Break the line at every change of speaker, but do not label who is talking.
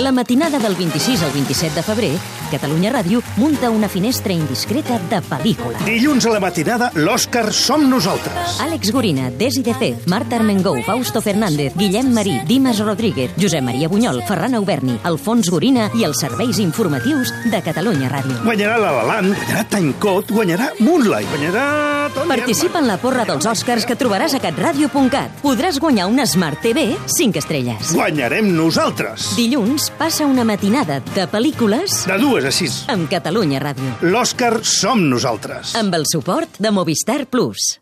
La matinada del 26 al 27 de febrer, Catalunya Ràdio munta una finestra indiscreta de pel·lícula.
Dilluns a la matinada, l'Òscar som nosaltres.
Àlex Gorina, Desi de Cez, Marta Armengou, Fausto Fernández, Guillem Marí, Dimas Rodríguez, Josep Maria Bunyol, Ferran Auberni, Alfons Gorina i els serveis informatius de Catalunya Ràdio.
Guanyarà La La Land, guanyarà Tancot, guanyarà Moonlight, guanyarà... Tony
Participa en la porra dels Oscars que trobaràs a catradio.cat. Podràs guanyar una Smart TV 5 estrelles.
Herman. Guanyarem nosaltres.
Dilluns passa una matinada de pel·lícules
De dues a sis.
amb Catalunya Ràdio.
L'Òscar som nosaltres.
Amb el suport de Movistar Plus.